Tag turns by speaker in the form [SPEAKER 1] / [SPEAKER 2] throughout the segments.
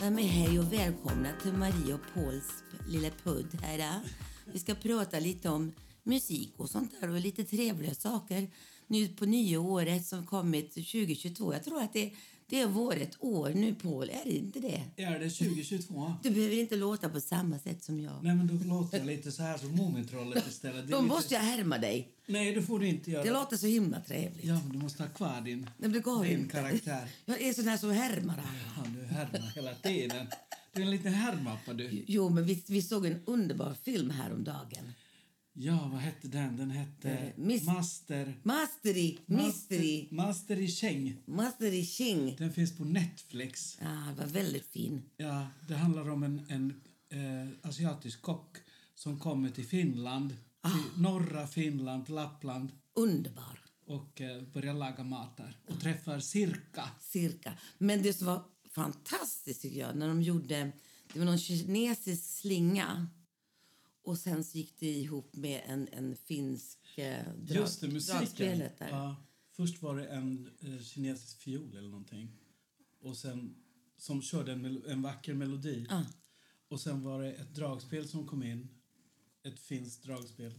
[SPEAKER 1] Ja, men hej och välkomna till Marie och Pauls lilla pudd här. ja. Vi ska prata lite om musik och sånt där och lite trevliga saker nu på nya året som kommit 2022. Jag tror att det, det är vårt år nu, Paul. Är det inte det?
[SPEAKER 2] Är det 2022?
[SPEAKER 1] Du behöver inte låta på samma sätt som jag.
[SPEAKER 2] Nej, men då låter jag lite så här som Mumintrollet istället. Det är
[SPEAKER 1] Då
[SPEAKER 2] lite-
[SPEAKER 1] måste jag härma dig.
[SPEAKER 2] Nej, det får du inte
[SPEAKER 1] Det
[SPEAKER 2] göra.
[SPEAKER 1] låter så himla trevligt.
[SPEAKER 2] Ja, men du måste ha kvar din,
[SPEAKER 1] Nej, men det går
[SPEAKER 2] din
[SPEAKER 1] inte.
[SPEAKER 2] karaktär.
[SPEAKER 1] Jag är sån här som härmar alla.
[SPEAKER 2] Fan, du härmar hela tiden. Du är en liten härmappa du.
[SPEAKER 1] Jo, men vi, vi såg en underbar film häromdagen.
[SPEAKER 2] Ja, vad hette den? Den hette
[SPEAKER 1] Eh, Miss-
[SPEAKER 2] Master...
[SPEAKER 1] Mastery, Mystery,
[SPEAKER 2] Master, Master i Cheng.
[SPEAKER 1] Mastery Ching.
[SPEAKER 2] Den finns på Netflix.
[SPEAKER 1] Ja, han Ah, var väldigt fin.
[SPEAKER 2] Ja, det handlar om en, en eh, asiatisk kock som kommer till Finland,
[SPEAKER 1] Ah.
[SPEAKER 2] till norra Finland, Lappland
[SPEAKER 1] Underbar
[SPEAKER 2] och eh, börjar laga mat där och träffar Sirka.
[SPEAKER 1] cirka. Men det som var fantastiskt tycker jag, när de gjorde... Det var någon kinesisk slinga. Och sen så gick det ihop med en, en finsk eh, drag,
[SPEAKER 2] Just det, musiken.
[SPEAKER 1] dragspelet där.
[SPEAKER 2] Ja, först var det en eh, kinesisk fiol eller någonting. Och sen, som körde en, mel- en vacker melodi.
[SPEAKER 1] Ja.
[SPEAKER 2] Och sen var det ett dragspel som kom in. Ett finskt dragspel.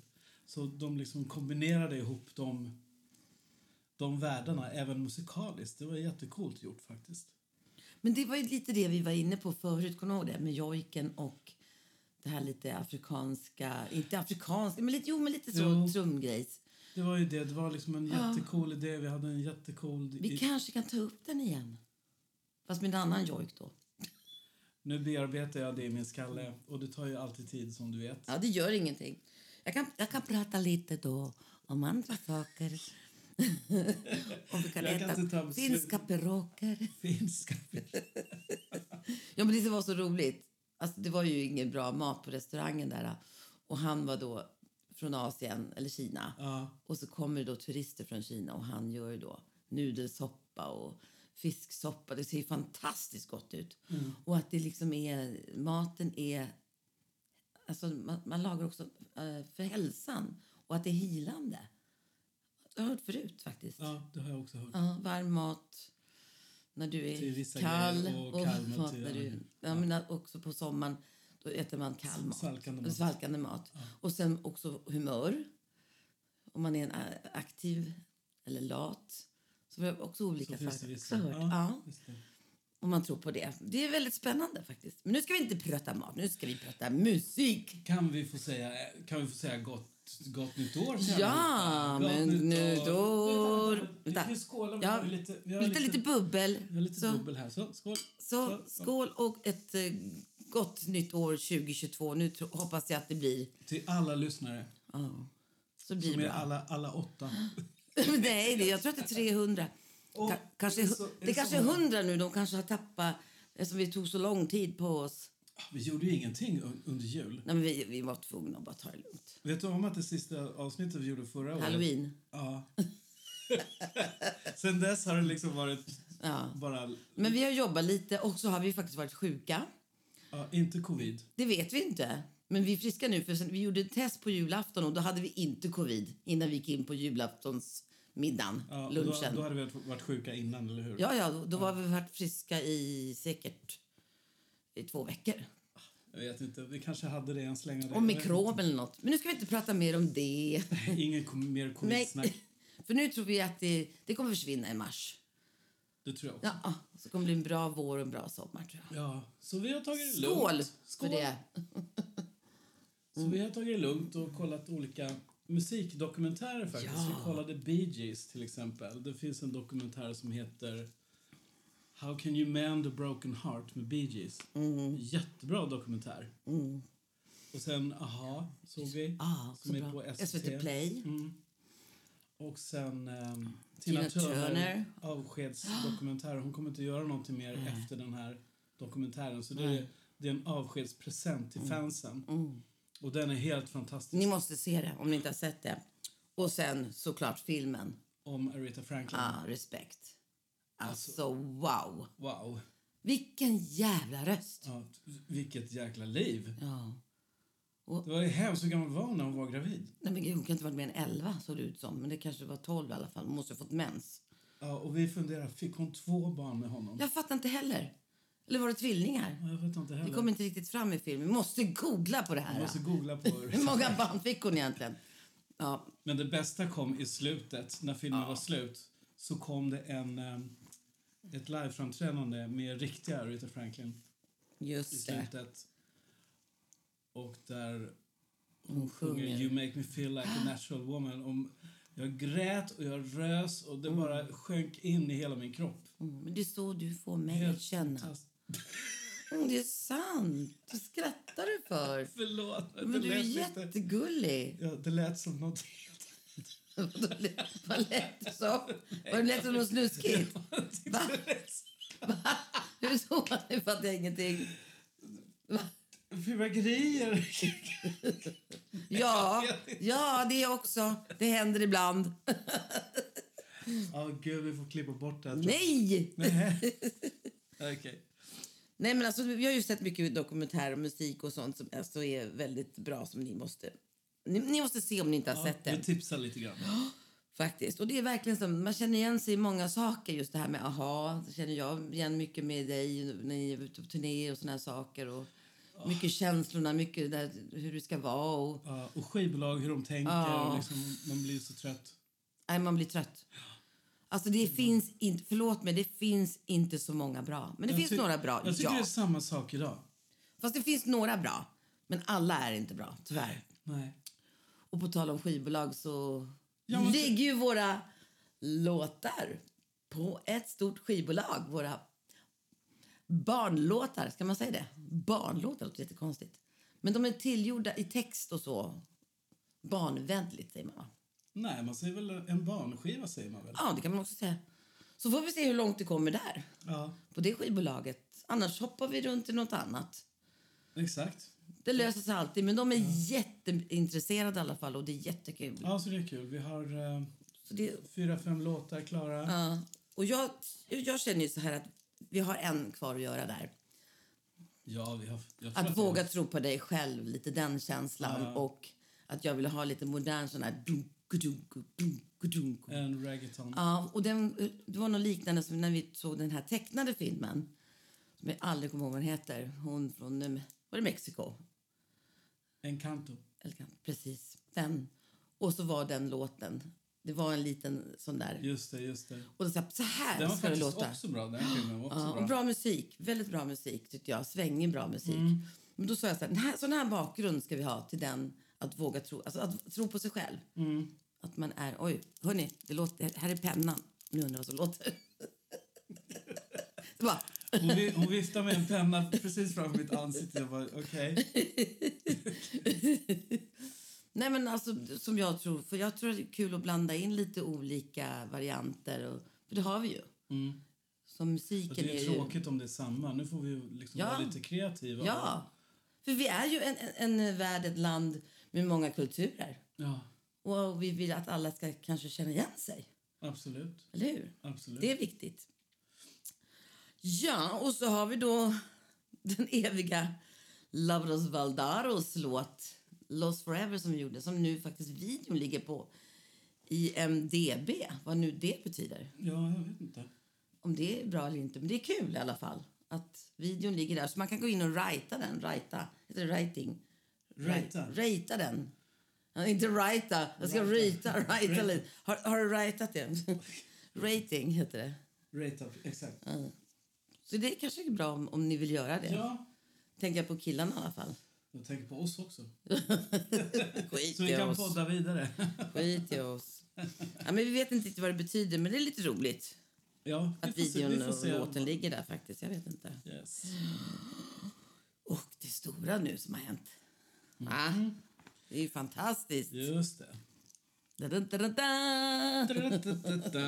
[SPEAKER 2] Så de liksom kombinerade ihop de, de världarna, även musikaliskt. Det var jättecoolt gjort faktiskt.
[SPEAKER 1] Men det var ju lite det vi var inne på förut, kommer du ihåg det? Med jojken och det här lite afrikanska, inte afrikanska, men lite, jo men lite så
[SPEAKER 2] Jo.
[SPEAKER 1] trumgrejs.
[SPEAKER 2] Det var ju det, det var liksom en jättecool idé. Vi hade en jättecool...
[SPEAKER 1] Vi kanske kan ta upp den igen. Fast med en annan jojk då.
[SPEAKER 2] Nu bearbetar jag det i min skalle och det tar ju alltid tid som du vet.
[SPEAKER 1] Ja, det gör ingenting. Jag kan, jag kan prata lite då om andra saker. Om vi kan
[SPEAKER 2] Jag kan
[SPEAKER 1] äta
[SPEAKER 2] inte ta beslut.
[SPEAKER 1] finska piroger.
[SPEAKER 2] Finska
[SPEAKER 1] Ja, men det var så roligt. Alltså, det var ju ingen bra mat på restaurangen där. Och han var då från Asien eller Kina.
[SPEAKER 2] Ja.
[SPEAKER 1] Och så kommer det då turister från Kina och han gör ju då nudelsoppa och fisksoppa. Det ser ju fantastiskt gott ut.
[SPEAKER 2] Mm.
[SPEAKER 1] Och att det liksom är, maten är alltså, man, man lagar också eh, för hälsan och att det är hilande. Jag har hört förut faktiskt. Ja.
[SPEAKER 2] Ja, det har jag också hört.
[SPEAKER 1] varm mat när du
[SPEAKER 2] Till
[SPEAKER 1] är
[SPEAKER 2] vissa
[SPEAKER 1] kall
[SPEAKER 2] grejer
[SPEAKER 1] och,
[SPEAKER 2] och kall mat
[SPEAKER 1] mat
[SPEAKER 2] till-
[SPEAKER 1] när du,
[SPEAKER 2] ja.
[SPEAKER 1] ja. men att också på sommaren då äter man kall mat.
[SPEAKER 2] Svalkande
[SPEAKER 1] Eller
[SPEAKER 2] mat.
[SPEAKER 1] Svalkande Alltså mat. Och sen också humör. Om man är en a- aktiv eller lat. Så vi har också olika
[SPEAKER 2] Så finns det
[SPEAKER 1] saker.
[SPEAKER 2] vissa.
[SPEAKER 1] också hört. Ja,
[SPEAKER 2] just det.
[SPEAKER 1] om man tror på det. Det är väldigt spännande faktiskt. Men nu ska vi inte prata mat, nu ska vi prata musik.
[SPEAKER 2] Kan vi få säga, kan vi få säga gott, gott nytt år? kära
[SPEAKER 1] Ja,
[SPEAKER 2] lyssnare?
[SPEAKER 1] men
[SPEAKER 2] nytt
[SPEAKER 1] nu då...
[SPEAKER 2] Vänta, vänta, vänta. Vi kan skåla. Vi
[SPEAKER 1] Ja,
[SPEAKER 2] har ju lite, vi har
[SPEAKER 1] lite, lite bubbel.
[SPEAKER 2] vi har lite
[SPEAKER 1] så,
[SPEAKER 2] bubbel här. Så, skål.
[SPEAKER 1] så skål och ett eh, gott nytt år 2022. Nu tro, hoppas jag att det blir...
[SPEAKER 2] Till alla lyssnare.
[SPEAKER 1] ja, så blir det
[SPEAKER 2] Med
[SPEAKER 1] bra.
[SPEAKER 2] alla, alla åtta.
[SPEAKER 1] Nej, det, jag tror att det är 300.
[SPEAKER 2] Och
[SPEAKER 1] Ka- kanske,
[SPEAKER 2] är det så- är
[SPEAKER 1] det
[SPEAKER 2] det
[SPEAKER 1] kanske är
[SPEAKER 2] så många?
[SPEAKER 1] 100 nu. De kanske har tappat... Eftersom vi tog så lång tid på oss.
[SPEAKER 2] Vi gjorde ju ingenting un- under jul.
[SPEAKER 1] Nej, men vi, vi var tvungna att bara ta det lugnt.
[SPEAKER 2] Vet du om att det sista avsnittet vi gjorde förra året...
[SPEAKER 1] Halloween.
[SPEAKER 2] Ja. Sen dess har det liksom varit
[SPEAKER 1] Ja.
[SPEAKER 2] bara...
[SPEAKER 1] Men vi har jobbat lite och så har vi faktiskt varit sjuka.
[SPEAKER 2] Ja, inte covid.
[SPEAKER 1] Det vet vi inte. Men vi är friska nu. för sen, Vi gjorde ett test på julafton och då hade vi inte covid innan vi gick in på julaftonsmiddagen,
[SPEAKER 2] Ja, och
[SPEAKER 1] lunchen.
[SPEAKER 2] Då, då hade vi varit sjuka innan, eller hur?
[SPEAKER 1] Ja, ja, då, då var vi varit friska i säkert i två veckor.
[SPEAKER 2] Jag vet inte, vi kanske hade det en släng av det.
[SPEAKER 1] Och mikrob eller något. Men nu ska vi inte prata mer om det.
[SPEAKER 2] Ingen kom, mer
[SPEAKER 1] Nej,
[SPEAKER 2] covid-snack.
[SPEAKER 1] för nu tror vi att det, det kommer försvinna i mars.
[SPEAKER 2] Det tror jag också.
[SPEAKER 1] Ja, så kommer det bli en bra vår och en bra sommar tror jag.
[SPEAKER 2] Ja, så vi har tagit det
[SPEAKER 1] Skål!
[SPEAKER 2] lugnt.
[SPEAKER 1] Skål. För det.
[SPEAKER 2] Så vi har tagit det lugnt och kollat olika musikdokumentärer faktiskt.
[SPEAKER 1] Ja.
[SPEAKER 2] Vi kollade Bee Gees till exempel. Det finns en dokumentär som heter How can you mend a broken heart med Bee Gees.
[SPEAKER 1] Mm.
[SPEAKER 2] Jättebra dokumentär. Och sen Aha såg vi.
[SPEAKER 1] Ah, så
[SPEAKER 2] som är
[SPEAKER 1] bra.
[SPEAKER 2] på SVT.
[SPEAKER 1] SVT Play.
[SPEAKER 2] Och sen ehm,
[SPEAKER 1] Tina
[SPEAKER 2] Tina, Turner,
[SPEAKER 1] Turner.
[SPEAKER 2] avskedsdokumentär. Hon kommer inte göra någonting mer efter den här dokumentären. Så det är, det är en avskedspresent till fansen. Och den är helt fantastisk.
[SPEAKER 1] Mm. Ni måste se det om ni inte har sett det. Och sen såklart filmen.
[SPEAKER 2] Om Aretha Franklin.
[SPEAKER 1] Ah, respekt. Alltså wow.
[SPEAKER 2] Wow.
[SPEAKER 1] Vilken jävla röst.
[SPEAKER 2] Ja, vilket jäkla liv.
[SPEAKER 1] Ja.
[SPEAKER 2] Det var ju hemskt. Hur gammal var hon när hon var gravid?
[SPEAKER 1] Nej men gud, hon kan inte varit mer än 11 såg det ut som. Men det kanske var 12 i alla fall. Hon måste ha fått mens.
[SPEAKER 2] Ja, och vi funderar, fick hon två barn med honom?
[SPEAKER 1] Jag fattar inte heller. Eller var det tvillingar?
[SPEAKER 2] Jag vet inte
[SPEAKER 1] Det
[SPEAKER 2] heller.
[SPEAKER 1] kom inte riktigt fram i filmen. Vi måste googla på det
[SPEAKER 2] Jag
[SPEAKER 1] här.
[SPEAKER 2] måste googla på
[SPEAKER 1] Hur
[SPEAKER 2] hur.
[SPEAKER 1] många band fick hon egentligen? Ja,
[SPEAKER 2] Men det bästa kom i slutet. När filmen var slut så kom det en, eh, ett liveframträdande med riktiga Aretha Franklin i
[SPEAKER 1] just det.
[SPEAKER 2] slutet. Och där
[SPEAKER 1] Hon
[SPEAKER 2] sjunger You
[SPEAKER 1] sjunger.
[SPEAKER 2] make me feel like a natural woman. Om jag grät och jag rös och det bara sjönk in i hela min kropp.
[SPEAKER 1] Mm, Men det är så du får mig
[SPEAKER 2] Helt
[SPEAKER 1] att känna.
[SPEAKER 2] fantastiskt.
[SPEAKER 1] Mm, det är sant. Vad skrattar du för?
[SPEAKER 2] Förlåt. det,
[SPEAKER 1] Men du är
[SPEAKER 2] lät lite,
[SPEAKER 1] jättegullig.
[SPEAKER 2] ja, det lät som något...
[SPEAKER 1] Vad lät- Vad lät det som? Var det lät som något snuskigt? Va? Va? Hur såg man? Nu fattar jag ingenting.
[SPEAKER 2] Fyrverkerier.
[SPEAKER 1] Ja, ja, det också. Det händer ibland.
[SPEAKER 2] Ja, gud, vi får klippa bort det. här, tror jag.
[SPEAKER 1] Nej!
[SPEAKER 2] Nej. Okej.
[SPEAKER 1] Nej, men alltså, vi har ju sett mycket dokumentärer och musik och sånt som alltså, är väldigt bra som ni måste... Ni, ni måste se om ni inte har
[SPEAKER 2] Ja,
[SPEAKER 1] sett
[SPEAKER 2] vi
[SPEAKER 1] den.
[SPEAKER 2] tipsar lite grann.
[SPEAKER 1] Faktiskt. Och det är verkligen som, man känner igen sig i många saker. Just det här med aha, det känner jag igen mycket med dig när ni är ute på turné och såna här saker. Och mycket känslorna, mycket det där, hur du ska vara. Och,
[SPEAKER 2] Ja, och skivbolag, hur de tänker.
[SPEAKER 1] Ja.
[SPEAKER 2] Och liksom, man blir så trött.
[SPEAKER 1] nej, man blir trött. Alltså det finns inte, förlåt mig, det finns inte så många bra. Men det
[SPEAKER 2] Jag
[SPEAKER 1] finns
[SPEAKER 2] ty-
[SPEAKER 1] några bra,
[SPEAKER 2] Jag tycker
[SPEAKER 1] ja.
[SPEAKER 2] det är samma sak idag.
[SPEAKER 1] Fast det finns några bra. Men alla är inte bra, tyvärr.
[SPEAKER 2] Nej.
[SPEAKER 1] Och på tal om skivbolag så
[SPEAKER 2] Ja, men-
[SPEAKER 1] ligger ju våra låtar på ett stort skivbolag. Våra barnlåtar, ska man säga det? Barnlåtar låter jättekonstigt. Men de är tillgjorda i text och så. Barnvänligt, säger man. va?
[SPEAKER 2] Nej, man säger väl en barnskiva säger man väl?
[SPEAKER 1] Ja, det kan man också säga. Så får vi se hur långt det kommer där,
[SPEAKER 2] Ja,
[SPEAKER 1] på det skivbolaget. Annars hoppar vi runt till något annat.
[SPEAKER 2] exakt.
[SPEAKER 1] Det löser sig alltid, men de är jätteintresserade i alla fall och det är jättekul.
[SPEAKER 2] Ja, så det är kul. Vi har eh,
[SPEAKER 1] Så det,
[SPEAKER 2] fyra, fem låtar klara.
[SPEAKER 1] Ja. Och jag, jag känner ju så här att vi har en kvar att göra där.
[SPEAKER 2] Ja, vi har... Jag tror
[SPEAKER 1] Att
[SPEAKER 2] vi har-
[SPEAKER 1] våga tro på dig själv, lite den känslan.
[SPEAKER 2] Ja.
[SPEAKER 1] Och att jag vill ha lite modern sån här... dunk, dunk, dunk, dunk.
[SPEAKER 2] En reggaeton.
[SPEAKER 1] Ja, och den, det var något liknande som när vi såg den här tecknade filmen. Som jag aldrig kommer ihåg vad den heter. Hon från... eh, Var det Mexiko?
[SPEAKER 2] En kanto.
[SPEAKER 1] Eller kan- Precis, den. Och så var den låten. Det var en liten sån där...
[SPEAKER 2] Just det, just det.
[SPEAKER 1] Och så här, så
[SPEAKER 2] Den
[SPEAKER 1] här
[SPEAKER 2] var
[SPEAKER 1] ska det
[SPEAKER 2] faktiskt
[SPEAKER 1] låta.
[SPEAKER 2] också bra. Den filmen var också
[SPEAKER 1] Ja,
[SPEAKER 2] bra.
[SPEAKER 1] och bra musik. Väldigt bra musik, tyckte jag. Svängig bra musik.
[SPEAKER 2] Mm.
[SPEAKER 1] Men då sa jag så här, den här, sån här bakgrund ska vi ha till den att våga tro, alltså att tro på sig själv.
[SPEAKER 2] Mm.
[SPEAKER 1] Att man är, oj, hörni, det låter, här är pennan. Nu undrar jag vad som låter. det bara,
[SPEAKER 2] Hon, vi, hon viftade med en penna precis framför mitt ansikte. Jag bara, okej.
[SPEAKER 1] nej men alltså som jag tror, för jag tror att det är kul att blanda in lite olika varianter. Och, för det har vi ju.
[SPEAKER 2] Mm.
[SPEAKER 1] Som musiken
[SPEAKER 2] Och Det är
[SPEAKER 1] ju...
[SPEAKER 2] tråkigt om det är samma. Nu får vi ju liksom
[SPEAKER 1] Ja.
[SPEAKER 2] vara lite kreativa.
[SPEAKER 1] Ja, för vi är ju en, en, en värld, ett land med många kulturer.
[SPEAKER 2] ja.
[SPEAKER 1] Och vi vill att alla ska kanske känna igen sig.
[SPEAKER 2] Absolut.
[SPEAKER 1] Eller hur?
[SPEAKER 2] Absolut.
[SPEAKER 1] Det är viktigt. Ja, och så har vi då den eviga Lavros Valdaros låt Lost Forever som vi gjorde, som nu faktiskt videon ligger på IMDB, vad nu det betyder.
[SPEAKER 2] Ja, jag vet inte.
[SPEAKER 1] Om det är bra eller inte, men det är kul i alla fall att videon ligger där. Så man kan gå in och writa den, writa, heter det writing?
[SPEAKER 2] Rata.
[SPEAKER 1] Rata den. Ja, Inte writa, jag ska
[SPEAKER 2] Writa.
[SPEAKER 1] rita, writa lite. Har, har du writat det? Rating heter det.
[SPEAKER 2] Rata, exakt.
[SPEAKER 1] Så det är kanske är bra om, om ni vill göra det.
[SPEAKER 2] Ja,
[SPEAKER 1] Tänker jag på killarna i alla fall.
[SPEAKER 2] jag tänker på oss också.
[SPEAKER 1] Skit
[SPEAKER 2] Så vi
[SPEAKER 1] i
[SPEAKER 2] kan
[SPEAKER 1] oss.
[SPEAKER 2] podda vidare.
[SPEAKER 1] Skit i oss. Ja, men vi vet inte riktigt vad det betyder, men det är lite roligt
[SPEAKER 2] Ja, vi
[SPEAKER 1] att
[SPEAKER 2] får se- vi
[SPEAKER 1] videon
[SPEAKER 2] får
[SPEAKER 1] och
[SPEAKER 2] se.
[SPEAKER 1] låten ligger där faktiskt. Jag vet inte.
[SPEAKER 2] Yes.
[SPEAKER 1] Och det stora nu som har hänt. Va? Det är ju fantastiskt.
[SPEAKER 2] Just det.
[SPEAKER 1] Da, da, da, da, da.
[SPEAKER 2] Da-da-da-da.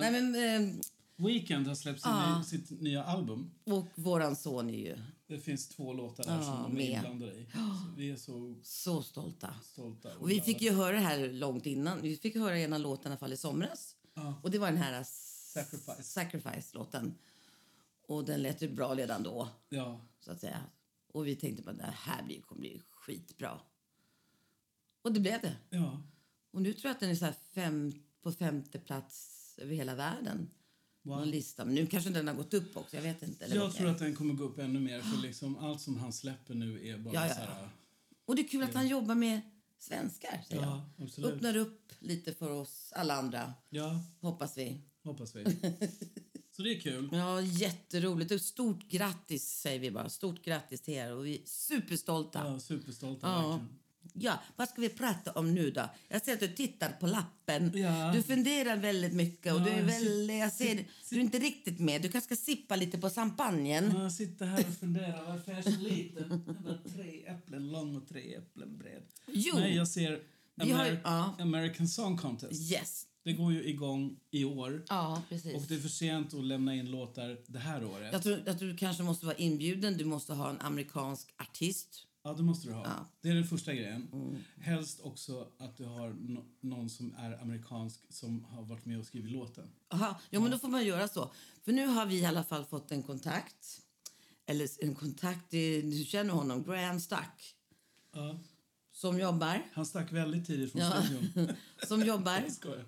[SPEAKER 1] Nej, men, eh,
[SPEAKER 2] Weekend har släppt sin
[SPEAKER 1] Ja.
[SPEAKER 2] ny, sitt nya album.
[SPEAKER 1] och våran son är ju
[SPEAKER 2] Det finns två låtar där
[SPEAKER 1] Ja,
[SPEAKER 2] som de är
[SPEAKER 1] med.
[SPEAKER 2] inblandade i. Så vi är så
[SPEAKER 1] så stolta.
[SPEAKER 2] stolta.
[SPEAKER 1] Och vi
[SPEAKER 2] glada.
[SPEAKER 1] fick ju höra det här långt innan. Vi fick höra ena låten i alla fall i somras.
[SPEAKER 2] Ja.
[SPEAKER 1] Och det var den här s-
[SPEAKER 2] Sacrifice.
[SPEAKER 1] Sacrifice-låten. Och den lät ju bra redan då,
[SPEAKER 2] Ja,
[SPEAKER 1] så att säga. Och vi tänkte att det här blir- kommer bli skitbra. Och det blev det.
[SPEAKER 2] ja.
[SPEAKER 1] Och nu tror jag att den är så här fem, på femte plats över hela världen. Någon lista. Men nu kanske den har gått upp också. Jag vet inte. Eller
[SPEAKER 2] Jag
[SPEAKER 1] vad det
[SPEAKER 2] tror
[SPEAKER 1] är.
[SPEAKER 2] att den kommer gå upp ännu mer för liksom allt som han släpper nu är bara
[SPEAKER 1] Ja, ja,
[SPEAKER 2] så här...
[SPEAKER 1] Och det är kul att han jobbar med svenskar, säger
[SPEAKER 2] Ja,
[SPEAKER 1] jag.
[SPEAKER 2] absolut.
[SPEAKER 1] Öppnar upp lite för oss alla andra,
[SPEAKER 2] Ja,
[SPEAKER 1] hoppas vi.
[SPEAKER 2] hoppas vi. Så det är kul.
[SPEAKER 1] Ja, jätteroligt. Och Stort grattis, säger vi bara. Stort grattis till er. Och vi är superstolta. Ja.
[SPEAKER 2] Ja, superstolta
[SPEAKER 1] Ja.
[SPEAKER 2] verkligen.
[SPEAKER 1] vad ska vi prata om nu då? Jag ser att du tittar på lappen.
[SPEAKER 2] Ja.
[SPEAKER 1] Du funderar väldigt mycket och
[SPEAKER 2] Ja,
[SPEAKER 1] du är
[SPEAKER 2] jag sit-
[SPEAKER 1] väldigt, jag ser, du är inte riktigt med. Du kanske ska sippa lite på champagnen.
[SPEAKER 2] Ja, Jag sitter här och funderar varför jag är så liten. Jag var tre äpplen lång och tre äpplen bred.
[SPEAKER 1] Jo,
[SPEAKER 2] Nej, jag ser
[SPEAKER 1] Vi har-
[SPEAKER 2] Ameri-
[SPEAKER 1] ja.
[SPEAKER 2] American Song Contest.
[SPEAKER 1] yes.
[SPEAKER 2] Det går ju igång i år.
[SPEAKER 1] Ja, precis.
[SPEAKER 2] Och det är för sent att lämna in låtar det här året.
[SPEAKER 1] Jag tror, jag tror du kanske måste vara inbjuden. Du måste ha en amerikansk artist.
[SPEAKER 2] Ja, det måste du ha.
[SPEAKER 1] Ja. Mm.
[SPEAKER 2] Det är den första grejen. Helst också att du har no- någon som är amerikansk som har varit med och skrivit låten.
[SPEAKER 1] Aha, ja, men då får man göra så. För nu har vi i alla fall fått en kontakt. Eller s- en kontakt, det- du känner honom, Graham Stack. Som jobbar.
[SPEAKER 2] Han stack väldigt tidigt från
[SPEAKER 1] Ja.
[SPEAKER 2] studion.
[SPEAKER 1] Som jobbar.
[SPEAKER 2] Jag skojar.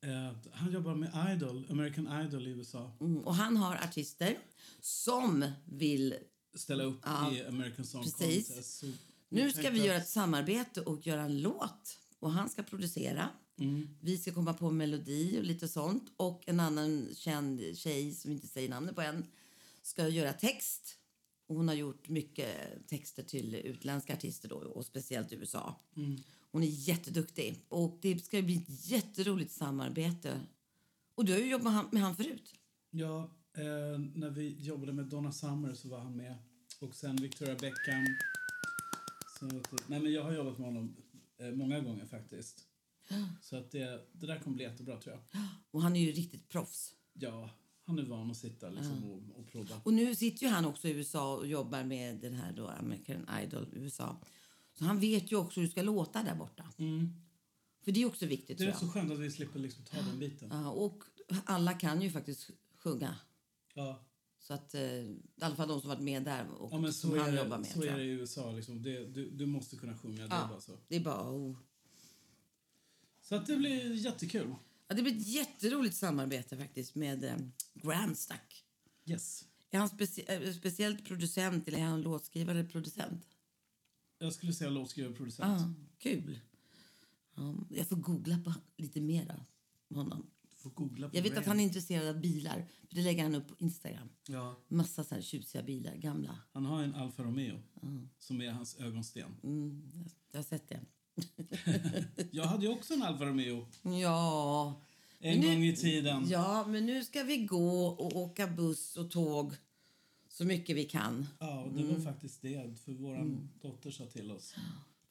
[SPEAKER 2] Eh, han jobbar med Idol, American Idol i USA.
[SPEAKER 1] Mm, och han har artister som vill...
[SPEAKER 2] Ställa upp
[SPEAKER 1] Ja,
[SPEAKER 2] i American Song
[SPEAKER 1] precis.
[SPEAKER 2] Contest. Så
[SPEAKER 1] Nu
[SPEAKER 2] jag
[SPEAKER 1] ska
[SPEAKER 2] tänkte
[SPEAKER 1] vi göra
[SPEAKER 2] att-
[SPEAKER 1] ett samarbete och göra en låt. Och han ska producera.
[SPEAKER 2] Mm.
[SPEAKER 1] Vi ska komma på melodi och lite sånt. Och en annan känd tjej, som vi inte säger namnet på än, ska göra text. Och hon har gjort mycket texter till utländska artister då, och speciellt i USA. Hon är jätteduktig. Och det ska bli ett jätteroligt samarbete. Och du har ju jobbat med han, med han förut.
[SPEAKER 2] Ja, eh, när vi jobbade med Donna Summer så var han med. Och sen Victoria Beckham. Så att, nej men jag har jobbat med honom eh, många gånger faktiskt. Så att det, det där kommer bli jättebra tror jag.
[SPEAKER 1] Och han är ju riktigt proffs.
[SPEAKER 2] Ja, han är van att sitta liksom och, och prova.
[SPEAKER 1] Och nu sitter ju han också i USA och jobbar med den här då American Idol USA. Så han vet ju också hur det ska låta där borta.
[SPEAKER 2] Mm.
[SPEAKER 1] För det är också viktigt
[SPEAKER 2] Det
[SPEAKER 1] tror
[SPEAKER 2] är
[SPEAKER 1] jag.
[SPEAKER 2] så skönt att vi slipper liksom ta den biten.
[SPEAKER 1] Ja, och alla kan ju faktiskt sjunga.
[SPEAKER 2] Ja,
[SPEAKER 1] Så att, eh, I alla fall de som varit med där och
[SPEAKER 2] ja men
[SPEAKER 1] som
[SPEAKER 2] så är,
[SPEAKER 1] han jobbar
[SPEAKER 2] det,
[SPEAKER 1] med.
[SPEAKER 2] så
[SPEAKER 1] tror
[SPEAKER 2] är
[SPEAKER 1] jag.
[SPEAKER 2] det i USA liksom. Det, du, du måste kunna sjunga, det
[SPEAKER 1] Ja.
[SPEAKER 2] är bara så.
[SPEAKER 1] det är bara... Oh.
[SPEAKER 2] Så att det blir jättekul.
[SPEAKER 1] Ja, det blir ett jätteroligt samarbete faktiskt med eh, Grandstack.
[SPEAKER 2] Yes.
[SPEAKER 1] Är han speci- eh, speciellt producent eller är han låtskrivare eller producent?
[SPEAKER 2] Jag skulle säga låtskrivare producent.
[SPEAKER 1] Ja, kul. Ja, jag får googla på lite mer om honom.
[SPEAKER 2] Du får googla på
[SPEAKER 1] Jag vet
[SPEAKER 2] Graham.
[SPEAKER 1] att han är intresserad av bilar. För Det lägger han upp på Instagram.
[SPEAKER 2] Ja.
[SPEAKER 1] Massa så här tjusiga bilar, gamla.
[SPEAKER 2] Han har en Alfa Romeo som är hans ögonsten.
[SPEAKER 1] Mm, jag- jag har sett det.
[SPEAKER 2] Jag hade ju också en Alfa Romeo
[SPEAKER 1] Ja.
[SPEAKER 2] en
[SPEAKER 1] nu-
[SPEAKER 2] gång i tiden. Ja.
[SPEAKER 1] ja, men nu ska vi gå och åka buss och tåg så mycket vi kan.
[SPEAKER 2] och det
[SPEAKER 1] Mm.
[SPEAKER 2] var faktiskt det, för vår dotter sa till oss.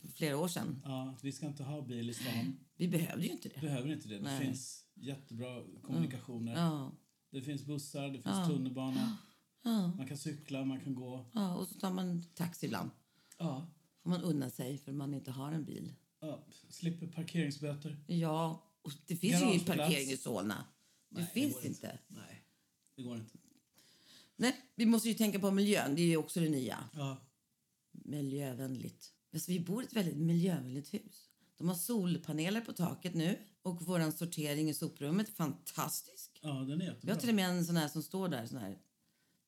[SPEAKER 1] För flera år sedan.
[SPEAKER 2] Ja, vi ska inte ha bil i stan,
[SPEAKER 1] Vi behövde ju inte det.
[SPEAKER 2] behöver inte det. Det
[SPEAKER 1] Nej.
[SPEAKER 2] finns jättebra kommunikationer.
[SPEAKER 1] Ja,
[SPEAKER 2] Det finns bussar, det finns tunnelbana. Man kan cykla, man kan gå.
[SPEAKER 1] ja, och så tar man taxi ibland.
[SPEAKER 2] Ja.
[SPEAKER 1] Får man unna sig för man inte har en bil.
[SPEAKER 2] Ja, slipper parkeringsböter.
[SPEAKER 1] Ja, och det finns ju ingen
[SPEAKER 2] Garageplats.
[SPEAKER 1] parkering i Solna. Det
[SPEAKER 2] Nej,
[SPEAKER 1] finns
[SPEAKER 2] går
[SPEAKER 1] inte.
[SPEAKER 2] Nej, det går inte.
[SPEAKER 1] Nej, vi måste ju tänka på miljön. Det är ju också det nya.
[SPEAKER 2] Ja,
[SPEAKER 1] miljövänligt. Alltså, vi bor i ett väldigt miljövänligt hus. De har solpaneler på taket nu och vår sortering i soprummet är fantastisk.
[SPEAKER 2] ja den är
[SPEAKER 1] Vi
[SPEAKER 2] jättebra.
[SPEAKER 1] har till och med en sån här som står där, sån här,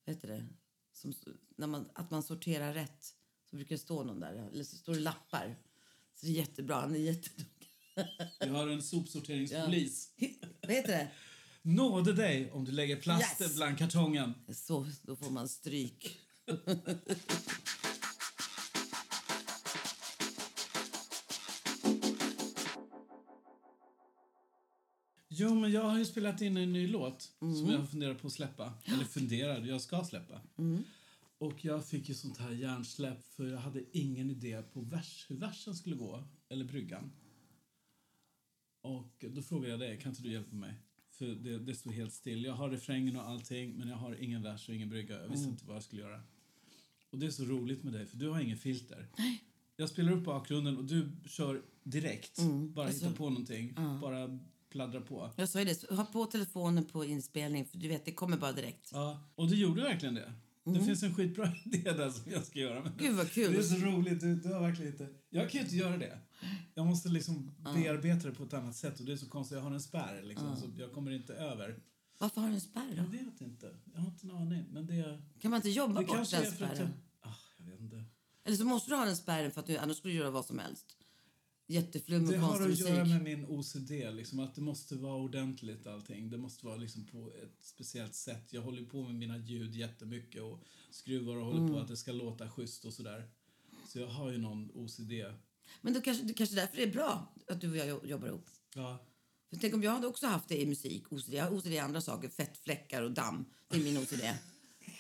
[SPEAKER 1] vad heter det, som, när man, att man sorterar rätt. Så brukar det stå någon där, eller så står det lappar. Så det är jättebra, han är jätteduktig.
[SPEAKER 2] Vi har en sopsorteringspolis.
[SPEAKER 1] Vad heter det?
[SPEAKER 2] Nåde dig om du lägger plasten
[SPEAKER 1] Yes.
[SPEAKER 2] bland kartongen.
[SPEAKER 1] Så, då får man stryk.
[SPEAKER 2] Jo, men jag har ju spelat in en ny låt som jag funderar på att släppa. Eller funderade, jag ska släppa. Och jag fick ju sånt här hjärnsläpp för jag hade ingen idé på vers, hur versen skulle gå, eller bryggan. Och då frågade jag dig, kan inte du hjälpa mig? För det, det stod helt still. Jag har refrängen och allting, men jag har ingen vers och ingen brygga. Jag visste inte vad jag skulle göra. Och det är så roligt med dig, för du har ingen filter. Jag spelar upp bakgrunden och du kör direkt. Bara hittar på någonting. Bara pladdrar på.
[SPEAKER 1] Jag sa ju det, ha på telefonen på inspelning för du vet, det kommer bara direkt.
[SPEAKER 2] Ja, och du gjorde verkligen det. Det finns en skitbra idé där som jag ska göra. Men
[SPEAKER 1] Mm. Gud vad
[SPEAKER 2] det är
[SPEAKER 1] kul!
[SPEAKER 2] så roligt. Du, du har verkligen inte... Jag kan ju inte göra det. Jag måste liksom bearbeta det på ett annat sätt. Och det är så konstigt. Jag har en spärr liksom, så jag kommer inte över.
[SPEAKER 1] Varför har den spärr?
[SPEAKER 2] Jag
[SPEAKER 1] Då?
[SPEAKER 2] vet inte. Jag har inte en aning. Men det,
[SPEAKER 1] Kan man inte jobba
[SPEAKER 2] det
[SPEAKER 1] bort
[SPEAKER 2] kanske
[SPEAKER 1] den
[SPEAKER 2] är för att jag...
[SPEAKER 1] spärren?
[SPEAKER 2] Ah, jag vet inte.
[SPEAKER 1] Eller så måste du ha den spärren för att du, annars skulle du göra vad som helst. Jätteflum
[SPEAKER 2] Det
[SPEAKER 1] och
[SPEAKER 2] har
[SPEAKER 1] konstig
[SPEAKER 2] att
[SPEAKER 1] musik.
[SPEAKER 2] göra med min OCD, liksom, att det måste vara ordentligt allting. Det måste vara liksom på ett speciellt sätt. Jag håller på med mina ljud jättemycket och skruvar och håller
[SPEAKER 1] Mm.
[SPEAKER 2] på att det ska låta schysst och sådär. Så jag har ju någon OCD.
[SPEAKER 1] Men då kanske, det kanske därför det är bra att du och jag jo- jobbar ihop.
[SPEAKER 2] Ja,
[SPEAKER 1] För tänk om jag hade också haft det i musik. OCD, jag har OCD i andra saker. Fettfläckar och damm. Det är min OCD.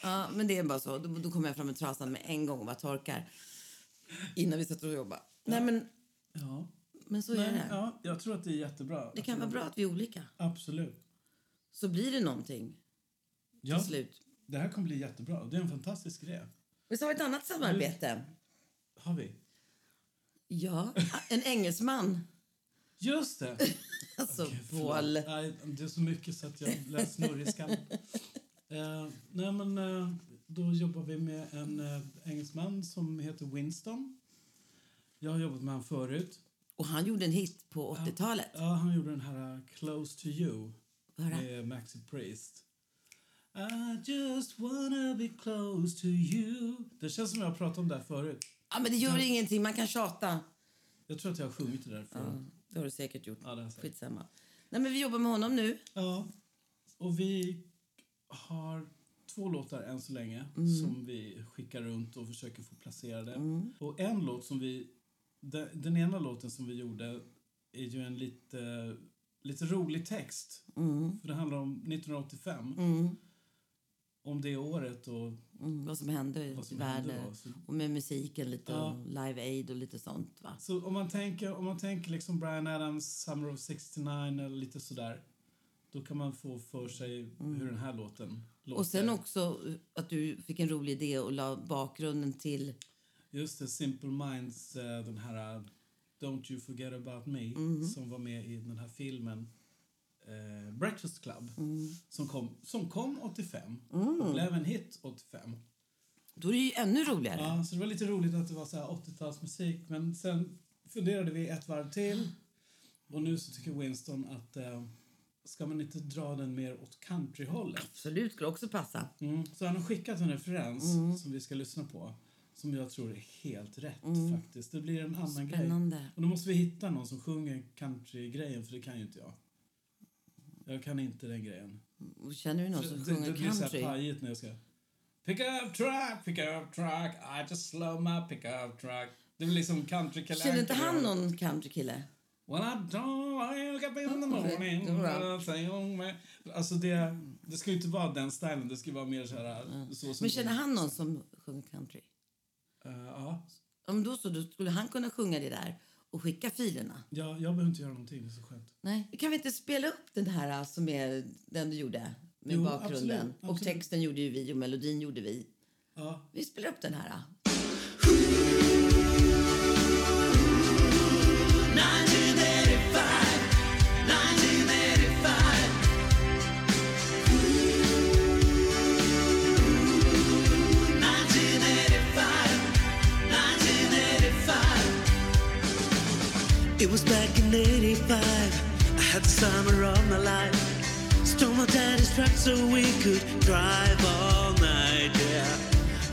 [SPEAKER 1] Ja, men det är bara så. Då, då kommer jag fram med trasan med en gång och bara torkar. Innan vi sätter oss och jobbar. Nej, men,
[SPEAKER 2] ja.
[SPEAKER 1] men så är
[SPEAKER 2] Nej,
[SPEAKER 1] det.
[SPEAKER 2] ja. Jag tror att det är jättebra.
[SPEAKER 1] Det kan vara bra att vi är olika.
[SPEAKER 2] Absolut.
[SPEAKER 1] Så blir det någonting till
[SPEAKER 2] Ja,
[SPEAKER 1] slut.
[SPEAKER 2] det här kommer bli jättebra. Det är en fantastisk grej.
[SPEAKER 1] Men så har vi ett annat samarbete.
[SPEAKER 2] Har vi?
[SPEAKER 1] Ja, en engelsman.
[SPEAKER 2] Just det!
[SPEAKER 1] Alltså,
[SPEAKER 2] Gud, förlåt.
[SPEAKER 1] Paul.
[SPEAKER 2] Nej, det är så mycket så att jag blev snurrig i skallen. Eh, nej, men eh, då jobbar vi med en eh, engelsman som heter Winston. Jag har jobbat med honom förut.
[SPEAKER 1] Och han gjorde en hit på 80-talet.
[SPEAKER 2] Ja, han gjorde den här eh, Close to you
[SPEAKER 1] Höra.
[SPEAKER 2] med Maxi Priest. I just wanna be close to you. Det känns som jag har pratat om det här förut.
[SPEAKER 1] Ja, men det gör ingenting. Man kan tjata.
[SPEAKER 2] Jag tror att jag har sjungit det där förut.
[SPEAKER 1] Det har du säkert gjort.
[SPEAKER 2] Ja, det har jag säkert.
[SPEAKER 1] Skitsamma. Nej, men vi jobbar med honom nu.
[SPEAKER 2] Ja. Och vi har två låtar än så länge
[SPEAKER 1] Mm.
[SPEAKER 2] som vi skickar runt och försöker få placerade.
[SPEAKER 1] Mm.
[SPEAKER 2] Och en låt som vi... Den, den ena låten som vi gjorde är ju en lite, lite rolig text.
[SPEAKER 1] Mm.
[SPEAKER 2] För det handlar om 1985. Om det året och
[SPEAKER 1] Mm, vad som hände
[SPEAKER 2] vad
[SPEAKER 1] i
[SPEAKER 2] som hände
[SPEAKER 1] världen.
[SPEAKER 2] då. Så,
[SPEAKER 1] Och med musiken lite,
[SPEAKER 2] Ja.
[SPEAKER 1] och Live Aid och lite sånt. va?
[SPEAKER 2] så om man tänker, om man tänker liksom Brian Adams Summer of 69 eller lite sådär. Då kan man få för sig hur den här låten låter.
[SPEAKER 1] Mm. Och sen också eh, att du fick en rolig idé och la bakgrunden till...
[SPEAKER 2] Just det, Simple Minds, eh, den här eh, Don't You Forget About Me som var med i den här filmen eh, Breakfast Club som, kom, som kom 85 och blev en hit 85.
[SPEAKER 1] Då är det ju ännu roligare.
[SPEAKER 2] Ja, så det var lite roligt att det var så här 80-talsmusik men sen funderade vi ett varv till och nu så tycker Winston att eh, ska man inte dra den mer åt countryhållet?
[SPEAKER 1] Absolut, skulle också passa.
[SPEAKER 2] Mm. Så han har skickat en referens
[SPEAKER 1] Mm.
[SPEAKER 2] som vi ska lyssna på som jag tror är helt rätt faktiskt. Det blir en annan grej.
[SPEAKER 1] Mm. Spännande.
[SPEAKER 2] Och då måste vi hitta någon som sjunger countrygrejen, för det kan ju inte jag. Jag kan inte den grejen.
[SPEAKER 1] Och Känner du någon som
[SPEAKER 2] det, det
[SPEAKER 1] sjunger
[SPEAKER 2] blir så
[SPEAKER 1] country?
[SPEAKER 2] här pajigt när jag ska... Pick up truck, pick up truck, I just slow my pick up truck. Det blir liksom country
[SPEAKER 1] Känner inte han någon countrykille?
[SPEAKER 2] When I don't wake up in the morning
[SPEAKER 1] det var
[SPEAKER 2] I say, oh my... Alltså det, det ska ju inte vara den stilen, det ska ju vara mer så här... Så som
[SPEAKER 1] Mm. Men känner han någon som sjunger country?
[SPEAKER 2] Eh, ja.
[SPEAKER 1] Om då så, då skulle han kunna sjunga det där och skicka filerna.
[SPEAKER 2] ja, jag behöver inte göra någonting, det är så skönt.
[SPEAKER 1] Nej. Kan vi inte spela upp den här alltså, som är den du gjorde? Med
[SPEAKER 2] Jo,
[SPEAKER 1] bakgrunden.
[SPEAKER 2] absolut,
[SPEAKER 1] Och
[SPEAKER 2] absolut.
[SPEAKER 1] texten gjorde ju vi och melodin gjorde vi.
[SPEAKER 2] Ja,
[SPEAKER 1] Vi spelar upp den här. äh.
[SPEAKER 3] It was back in 85. I had the summer of my life. Stole my daddy's truck so we could drive all night. Yeah.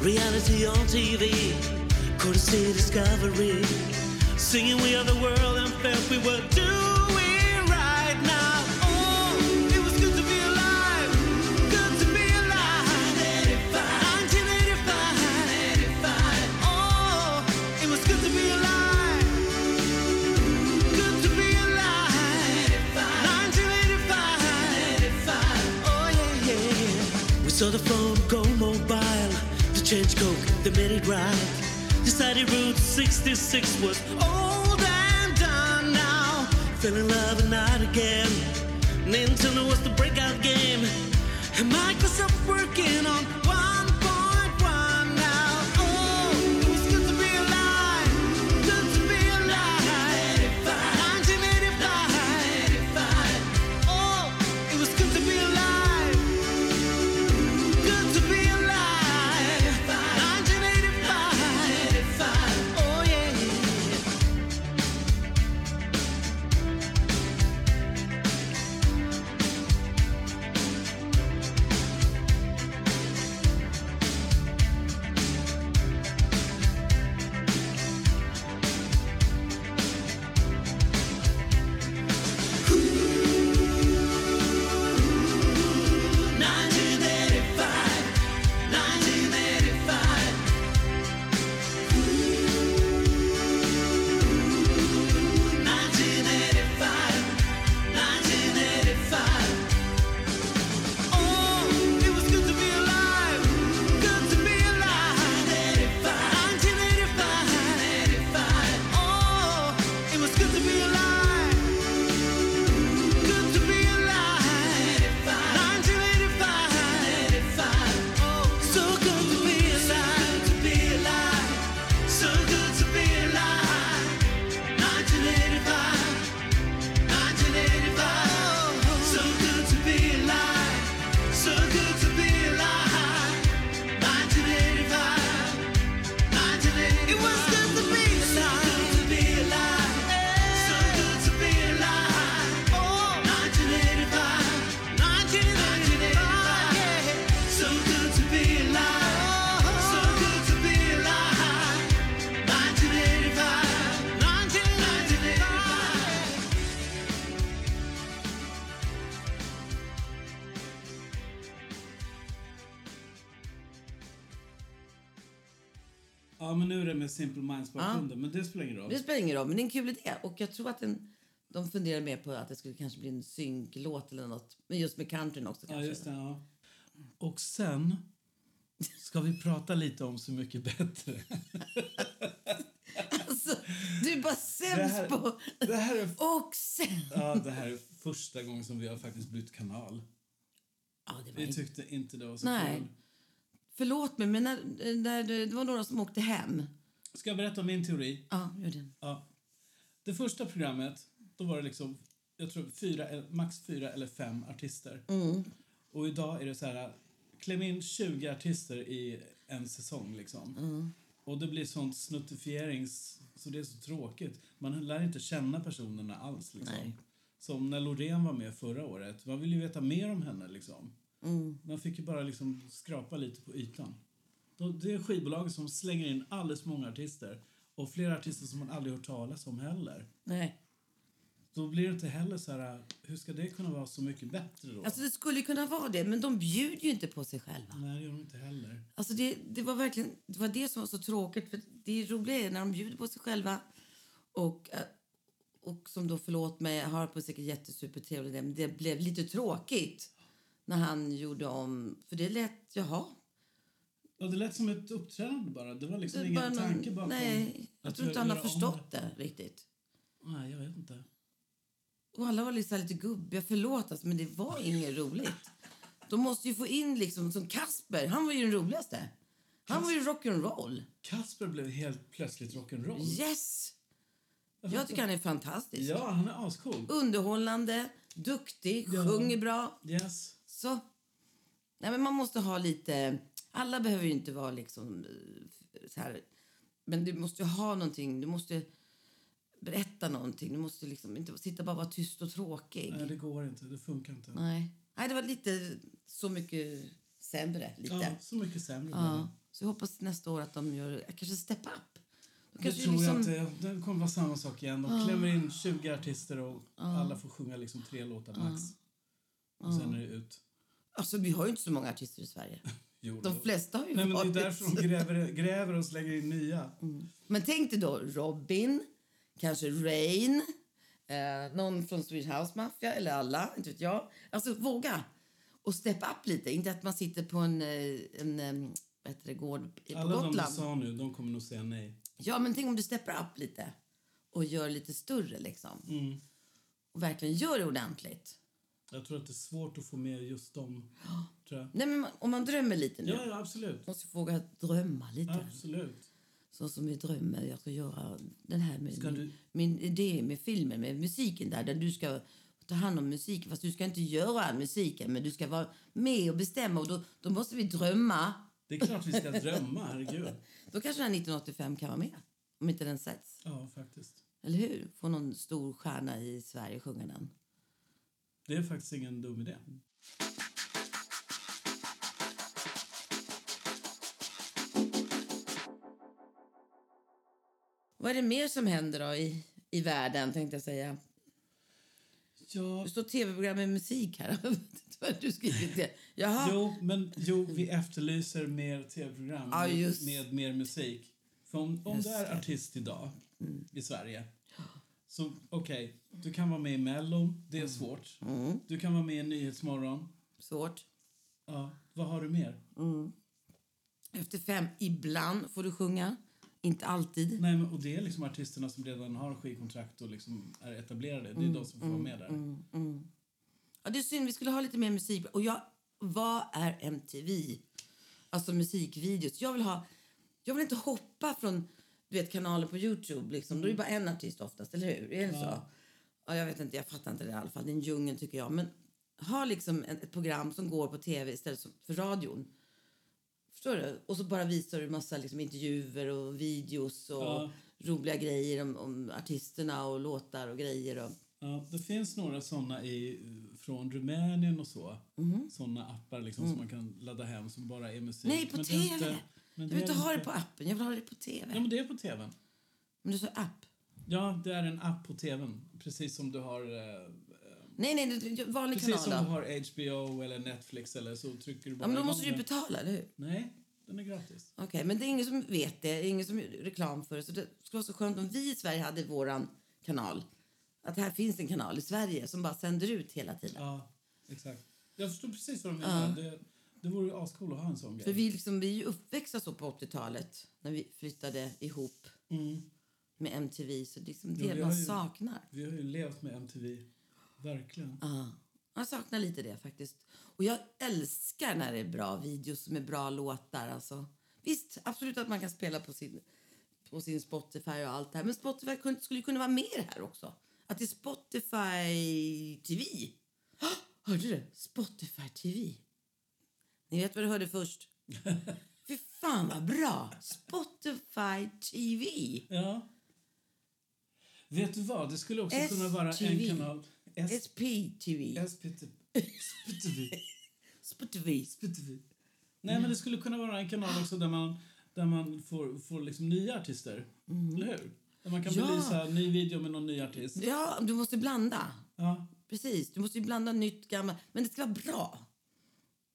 [SPEAKER 3] Reality on TV. Couldn't see discovery. Singing we are the world and felt we were doing right now. Oh, it was good to be alive. Good to be alive. 1985. 1985. Oh, it was good to be alive. Good to be alive. 1985. Oh, yeah, yeah. We saw the phone go mobile. The change coke, they made it right. Decided Route 66 was old and done now. Fell in love and not again. Nintendo was the breakout game. And Microsoft working on 1.1 now. Oh, it was good to be alive. Good to be alive. 1985. Oh, it was good to be alive. Good to be alive. 1985. Oh, yeah.
[SPEAKER 2] Ja, men nu är det med Simple Minds-bakgrunden, men det spelar ingen roll.
[SPEAKER 1] Det spelar ingen roll, men det är en kul idé. Och jag tror att den, de funderar mer på att det skulle kanske bli en synklåt eller något. Men just med countryn också
[SPEAKER 2] Ja,
[SPEAKER 1] kanske.
[SPEAKER 2] just det, ja. Och sen ska vi prata lite om Så mycket bättre.
[SPEAKER 1] Alltså, du är bara
[SPEAKER 2] Det
[SPEAKER 1] sämst
[SPEAKER 2] här-
[SPEAKER 1] på...
[SPEAKER 2] Det här är,
[SPEAKER 1] Och sen...
[SPEAKER 2] ja, det här är första gången som vi har faktiskt bytt kanal.
[SPEAKER 1] Ja, det var
[SPEAKER 2] Vi
[SPEAKER 1] inte-
[SPEAKER 2] tyckte inte det var så
[SPEAKER 1] Nej.
[SPEAKER 2] kul.
[SPEAKER 1] Förlåt mig, men när, när det, det var några som åkte hem.
[SPEAKER 2] Ska jag berätta om min teori?
[SPEAKER 1] Ja, gör det.
[SPEAKER 2] Ja. Det första programmet, då var det liksom jag tror fyra, eller- max fyra eller fem artister. Och idag är det så här, kläm in 20 artister i en säsong liksom. Och det blir sånt snuttifierings, så det är så tråkigt. Man lär inte känna personerna alls liksom.
[SPEAKER 1] Nej.
[SPEAKER 2] Som när Loreen var med förra året, man ville ju veta mer om henne liksom. Man fick ju bara liksom skrapa lite på ytan. Då- Det är skivbolaget som slänger in alldeles för många artister och flera artister som man aldrig hört talas om heller.
[SPEAKER 1] Nej.
[SPEAKER 2] Då blir det inte heller så här, hur ska det kunna vara så mycket bättre då?
[SPEAKER 1] Alltså, det skulle ju kunna vara det, men de bjuder ju inte på sig själva.
[SPEAKER 2] Nej, det gör de inte heller.
[SPEAKER 1] Alltså det, det var verkligen det var det som var så tråkigt. För det roliga är när de bjuder på sig själva och, eh, och som då, förlåt mig, har på säkert jättesupertrevlig idé, men det blev lite tråkigt när han gjorde om, för det lät, jaha.
[SPEAKER 2] Ja, det lät som ett uppträdande bara. Det var liksom
[SPEAKER 1] Det är
[SPEAKER 2] ingen
[SPEAKER 1] bara någon-
[SPEAKER 2] tanke bakom.
[SPEAKER 1] Nej, jag
[SPEAKER 2] att
[SPEAKER 1] tror inte han har
[SPEAKER 2] göra om
[SPEAKER 1] förstått det riktigt.
[SPEAKER 2] det. Nej, jag vet inte.
[SPEAKER 1] Och alla var liksom lite gubbiga, förlåt alltså, men det var inget roligt. De måste ju få in liksom, som Kasper, han var ju den roligaste. Han var ju rock'n'roll.
[SPEAKER 2] Kasper blev helt plötsligt rock'n'roll.
[SPEAKER 1] Yes! Jag tycker han är fantastisk.
[SPEAKER 2] Ja, han är ascool.
[SPEAKER 1] underhållande, duktig,
[SPEAKER 2] Ja.
[SPEAKER 1] sjunger bra.
[SPEAKER 2] Yes.
[SPEAKER 1] Så. Nej, men man måste ha lite... Alla behöver ju inte vara liksom eh, så här... Men du måste ju ha någonting. Du måste berätta någonting. Du måste liksom inte sitta bara och vara tyst och tråkig.
[SPEAKER 2] Nej,
[SPEAKER 1] Nej.
[SPEAKER 2] det går inte. Det funkar inte.
[SPEAKER 1] Nej. det var lite så mycket sämre. Lite.
[SPEAKER 2] Ja,
[SPEAKER 1] Ja.
[SPEAKER 2] så mycket sämre.
[SPEAKER 1] Så jag hoppas nästa år att de gör... Kanske step up. Då
[SPEAKER 2] Det
[SPEAKER 1] kanske
[SPEAKER 2] tror
[SPEAKER 1] liksom-
[SPEAKER 2] jag inte. Det kommer vara samma sak igen. De klämmer in 20 artister och alla får sjunga liksom tre låtar max. Och sen är det ut.
[SPEAKER 1] Alltså, vi har ju inte så många artister i Sverige.
[SPEAKER 2] Jo,
[SPEAKER 1] De
[SPEAKER 2] då.
[SPEAKER 1] flesta har ju
[SPEAKER 2] Nej, men
[SPEAKER 1] varit...
[SPEAKER 2] det är därför de gräver, gräver och slänger in nya.
[SPEAKER 1] Men tänk dig då Robin, kanske Rain, eh, någon från Swedish House Mafia eller alla, inte vet jag. Alltså våga och steppa upp lite. Inte att man sitter på en, eh, en eh, vad heter det, gård på
[SPEAKER 2] Alla de du
[SPEAKER 1] Gotland.
[SPEAKER 2] sa nu, de kommer nog säga nej.
[SPEAKER 1] Ja, men tänk om du steppar upp lite och gör lite större liksom.
[SPEAKER 2] Mm.
[SPEAKER 1] Och verkligen gör det ordentligt.
[SPEAKER 2] Jag tror att det är svårt att få med just dem. Tror jag.
[SPEAKER 1] Nej, men man- om man drömmer lite nu.
[SPEAKER 2] Ja, ja, absolut.
[SPEAKER 1] Måste våga drömma lite.
[SPEAKER 2] Absolut.
[SPEAKER 1] Så som vi drömmer. Jag ska göra den här med
[SPEAKER 2] Ska
[SPEAKER 1] min,
[SPEAKER 2] du-
[SPEAKER 1] min idé med filmen, med musiken där, där du ska ta hand om musiken. Fast du ska inte göra all musiken, men du ska vara med och bestämma. Och då, då måste vi drömma.
[SPEAKER 2] Det är klart vi ska drömma, herregud.
[SPEAKER 1] Då kanske den här 1985 kan vara med, om inte den sätts.
[SPEAKER 2] Ja, faktiskt.
[SPEAKER 1] Eller hur? Få någon stor stjärna i Sverige sjunga den.
[SPEAKER 2] Det är faktiskt ingen dum idé.
[SPEAKER 1] Vad är det mer som händer då i, i världen, tänkte jag säga?
[SPEAKER 2] Ja,
[SPEAKER 1] Det står tv-program med musik här. Jag vet inte vad du skrivit det. Jaha.
[SPEAKER 2] jo, men jo, vi efterlyser mer tv-program
[SPEAKER 1] Ja, Ah,
[SPEAKER 2] med-
[SPEAKER 1] just.
[SPEAKER 2] med mer musik. För om, om
[SPEAKER 1] Just Mm.
[SPEAKER 2] du är artist idag i Sverige så okej, du kan vara med i Mellon, det är
[SPEAKER 1] Mm.
[SPEAKER 2] svårt. Du kan vara med i Nyhetsmorgon.
[SPEAKER 1] Svårt.
[SPEAKER 2] Ja, vad har du mer?
[SPEAKER 1] Efter fem, ibland får du sjunga. Inte alltid.
[SPEAKER 2] Nej, men, och det är liksom artisterna som redan har skivkontrakt och liksom är etablerade. Det är
[SPEAKER 1] Mm,
[SPEAKER 2] de som får vara med där.
[SPEAKER 1] Ja, det är synd. Vi skulle ha lite mer musik. Och jag, vad är MTV? Alltså musikvideos. Jag vill ha... Jag vill inte hoppa från du vet, kanaler på Youtube. Liksom. Då är det bara en artist oftast, eller hur? Är det så? Ja, jag vet inte, jag fattar inte det i alla fall. Det är en djungel tycker jag. Men ha liksom en- ett program som går på tv istället för radion. Förstår du? Och så bara visar du massa liksom, intervjuer och videos och
[SPEAKER 2] Ja.
[SPEAKER 1] roliga grejer om, om artisterna och låtar och grejer. Och...
[SPEAKER 2] Ja, det finns några såna i, från Rumänien och så. såna appar liksom som man kan ladda hem som bara är musik.
[SPEAKER 1] Mm. Nej, på
[SPEAKER 2] Men det är
[SPEAKER 1] tv!
[SPEAKER 2] inte- men
[SPEAKER 1] jag vill
[SPEAKER 2] är
[SPEAKER 1] inte ha det på appen, jag vill ha det på tv.
[SPEAKER 2] Ja, men det är på tvn.
[SPEAKER 1] Men du sa app.
[SPEAKER 2] Ja, det är en app på tvn. Precis som du har... Eh,
[SPEAKER 1] Nej, nej, du- du- vanlig
[SPEAKER 2] precis
[SPEAKER 1] kanal
[SPEAKER 2] som
[SPEAKER 1] då.
[SPEAKER 2] du har HBO eller Netflix eller så trycker du
[SPEAKER 1] Ja,
[SPEAKER 2] bara
[SPEAKER 1] men då
[SPEAKER 2] igång
[SPEAKER 1] måste du
[SPEAKER 2] den.
[SPEAKER 1] betala, eller hur?
[SPEAKER 2] Nej, Den är gratis.
[SPEAKER 1] Okej, men det är ingen som vet det, det är ingen som gör reklam för det. Så det skulle vara så skönt om vi i Sverige hade våran kanal. Att här finns en kanal i Sverige som bara sänder ut hela tiden.
[SPEAKER 2] Ja, exakt. Jag förstår precis vad de menar. Det, det vore ju ascool att ha en sån
[SPEAKER 1] För
[SPEAKER 2] grej.
[SPEAKER 1] vi, liksom, vi är ju uppväxta så på 80-talet när vi flyttade ihop
[SPEAKER 2] Mm.
[SPEAKER 1] med MTV. Så det är liksom
[SPEAKER 2] Jo,
[SPEAKER 1] det
[SPEAKER 2] vi
[SPEAKER 1] man
[SPEAKER 2] har ju-
[SPEAKER 1] saknar.
[SPEAKER 2] Vi har ju levt med MTV. Verkligen.
[SPEAKER 1] Ja, jag saknar lite det faktiskt. Och jag älskar när det är bra videos med bra låtar. Alltså. Visst, absolut att man kan spela på sin, på sin Spotify och allt det här. Men Spotify kun- skulle ju kunna vara med i det här också. Att det är Spotify TV. Hå! Hörde du? Spotify TV. Ni vet vad du hörde först. Fy fan vad bra! Spotify TV.
[SPEAKER 2] Ja. Vet du vad? Det skulle också kunna vara en
[SPEAKER 1] STV.
[SPEAKER 2] kanal... S-
[SPEAKER 1] SPTV.
[SPEAKER 2] SPT. SPTV.
[SPEAKER 1] Spotify.
[SPEAKER 2] SPTV. Typ. Nej, men det skulle kunna vara en kanal också där man, där man får, får liksom nya artister. Eller hur? Där man kan
[SPEAKER 1] Mm. Ja.
[SPEAKER 2] belysa en ny video med någon ny artist.
[SPEAKER 1] Ja, du måste blanda.
[SPEAKER 2] Ja.
[SPEAKER 1] Precis, du måste ju blanda nytt, gammalt. Men det ska vara bra.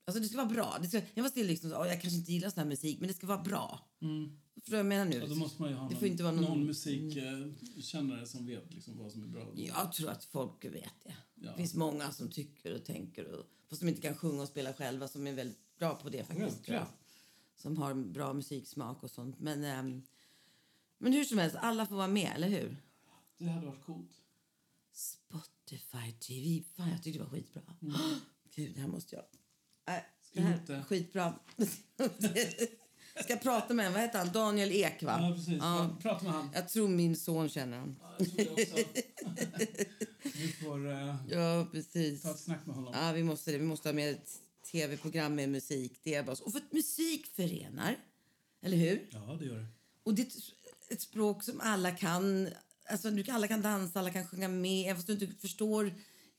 [SPEAKER 1] Alltså det ska vara bra. Det ska, jag var still liksom, så, "Åh, jag kanske inte gillar sån här musik, men det ska vara bra. Förstår du vad jag menar nu?
[SPEAKER 2] Och då måste man ju ha
[SPEAKER 1] Det får
[SPEAKER 2] någon,
[SPEAKER 1] inte vara någon- Mm.
[SPEAKER 2] någon... musikkännare som vet liksom vad som är bra.
[SPEAKER 1] Jag tror att folk vet det.
[SPEAKER 2] Ja.
[SPEAKER 1] Det finns många som tycker och tänker, och, fast som inte kan sjunga och spela själva, som är väldigt bra på det faktiskt. Tror jag.
[SPEAKER 2] Självklart.
[SPEAKER 1] Som har bra musiksmak och sånt. Men, ehm, men hur som helst, alla får vara med, eller hur?
[SPEAKER 2] Det hade varit coolt.
[SPEAKER 1] Spotify TV. Fan, jag tyckte det var skitbra. Gud, det här måste jag... Nej,
[SPEAKER 2] Mm. Ska
[SPEAKER 1] det här
[SPEAKER 2] inte.
[SPEAKER 1] är skitbra. Ska jag prata med en, vad heter han? Daniel Ek, va?
[SPEAKER 2] Ja, precis.
[SPEAKER 1] Ja.
[SPEAKER 2] Prata med han.
[SPEAKER 1] Jag tror min son känner honom.
[SPEAKER 2] Ja, jag tror det också. Vi får eh,
[SPEAKER 1] Ja, precis.
[SPEAKER 2] ta ett snack med honom.
[SPEAKER 1] Ja, vi måste det. Vi måste ha med ett tv-program med musik. Det är bara så. Och för att musik förenar, eller hur?
[SPEAKER 2] Ja, det gör det.
[SPEAKER 1] Och det är ett- ett språk som alla kan... Alltså, du, kan- alla kan dansa, alla kan sjunga med. Även fast du inte förstår